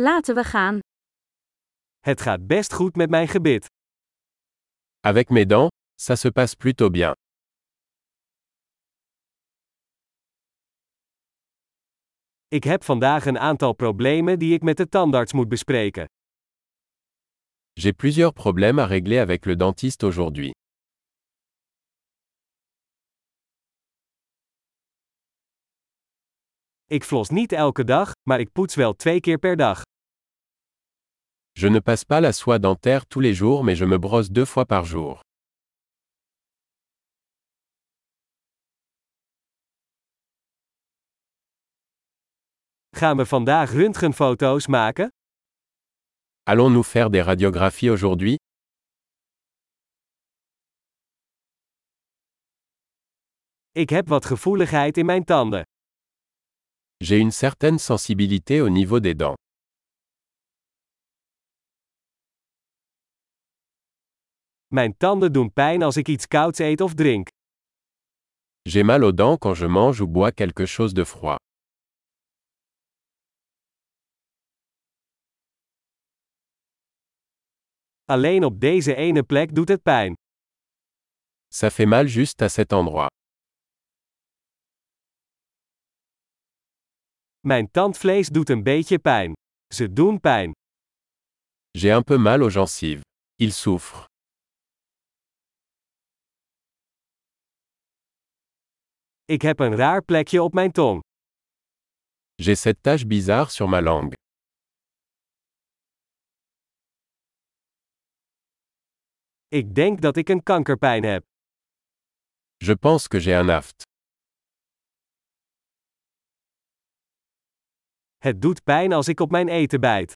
Laten we gaan. Het gaat best goed met mijn gebit. Avec mes dents, ça se passe plutôt bien. Ik heb vandaag een aantal problemen die ik met de tandarts moet bespreken. J'ai plusieurs problèmes à régler avec le dentiste aujourd'hui. Ik flos niet elke dag, maar ik poets wel twee keer per dag. Je ne passe pas la soie dentaire tous les jours mais je me brosse deux fois par jour. Gaan we vandaag röntgenfoto's maken? Allons-nous faire des radiographies aujourd'hui Ik heb wat gevoeligheid in mijn tanden. J'ai une certaine sensibilité au niveau des dents. Mijn tanden doen pijn als ik iets kouds eet of drink. J'ai mal aux dents quand je mange ou bois quelque chose de froid. Alleen op deze ene plek doet het pijn. Ça fait mal juste à cet endroit. Mijn tandvlees doet een beetje pijn. Ze doen pijn. J'ai un peu mal aux gencives. Il souffre. Ik heb een raar plekje op mijn tong. J'ai cette tache bizarre sur ma langue. Ik denk dat ik een kankerpijn heb. Je pense que j'ai un aft. Het doet pijn als ik op mijn eten bijt.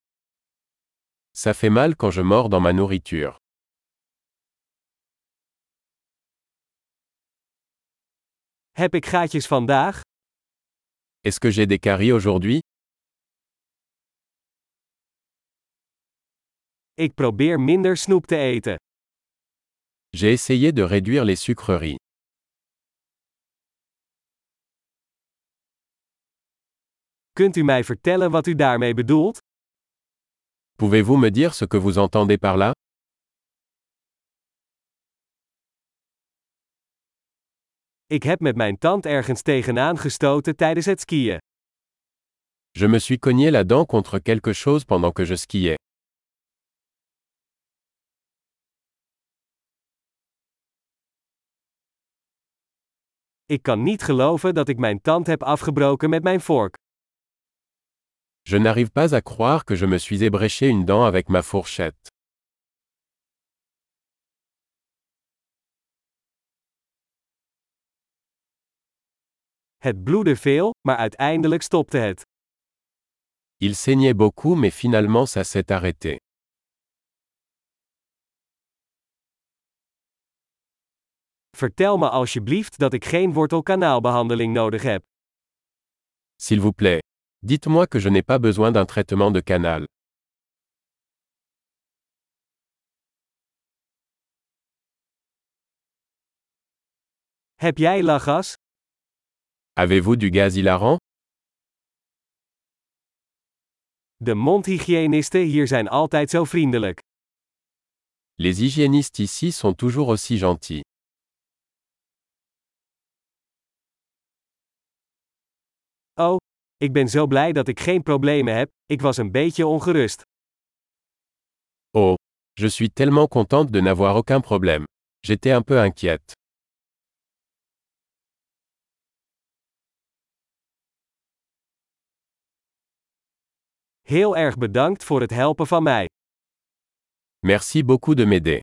Ça fait mal quand je mords dans ma nourriture. Heb ik gaatjes vandaag? Est-ce que j'ai des caries aujourd'hui Ik probeer minder snoep te eten. J'ai essayé de réduire les sucreries. Kunt u mij vertellen wat u daarmee bedoelt? Pouvez-vous me dire ce que vous entendez par là Ik heb met mijn tand ergens tegenaan gestoten tijdens het skiën. Je me suis cogné la dent contre quelque chose pendant que je skiais. Ik kan niet geloven dat ik mijn tand heb afgebroken met mijn vork. Je n'arrive pas à croire que je me suis ébréché une dent avec ma fourchette. Het bloedde veel, maar uiteindelijk stopte het. Il saignait beaucoup mais finalement ça s'est arrêté. Vertel me alsjeblieft dat ik geen wortelkanaalbehandeling nodig heb. S'il vous plaît. Dites-moi que je n'ai pas besoin d'un traitement de canal. Heb jij lachgas? Avez-vous du gaz hilarant De mondhygiënisten hier zijn altijd zo vriendelijk. Les hygiénistes ici sont toujours aussi gentils. Ik ben zo blij dat ik geen problemen heb, ik was een beetje ongerust. Oh, je suis tellement contente de n'avoir aucun problème. J'étais un peu inquiète. Heel erg bedankt voor het helpen van mij. Merci beaucoup de m'aider.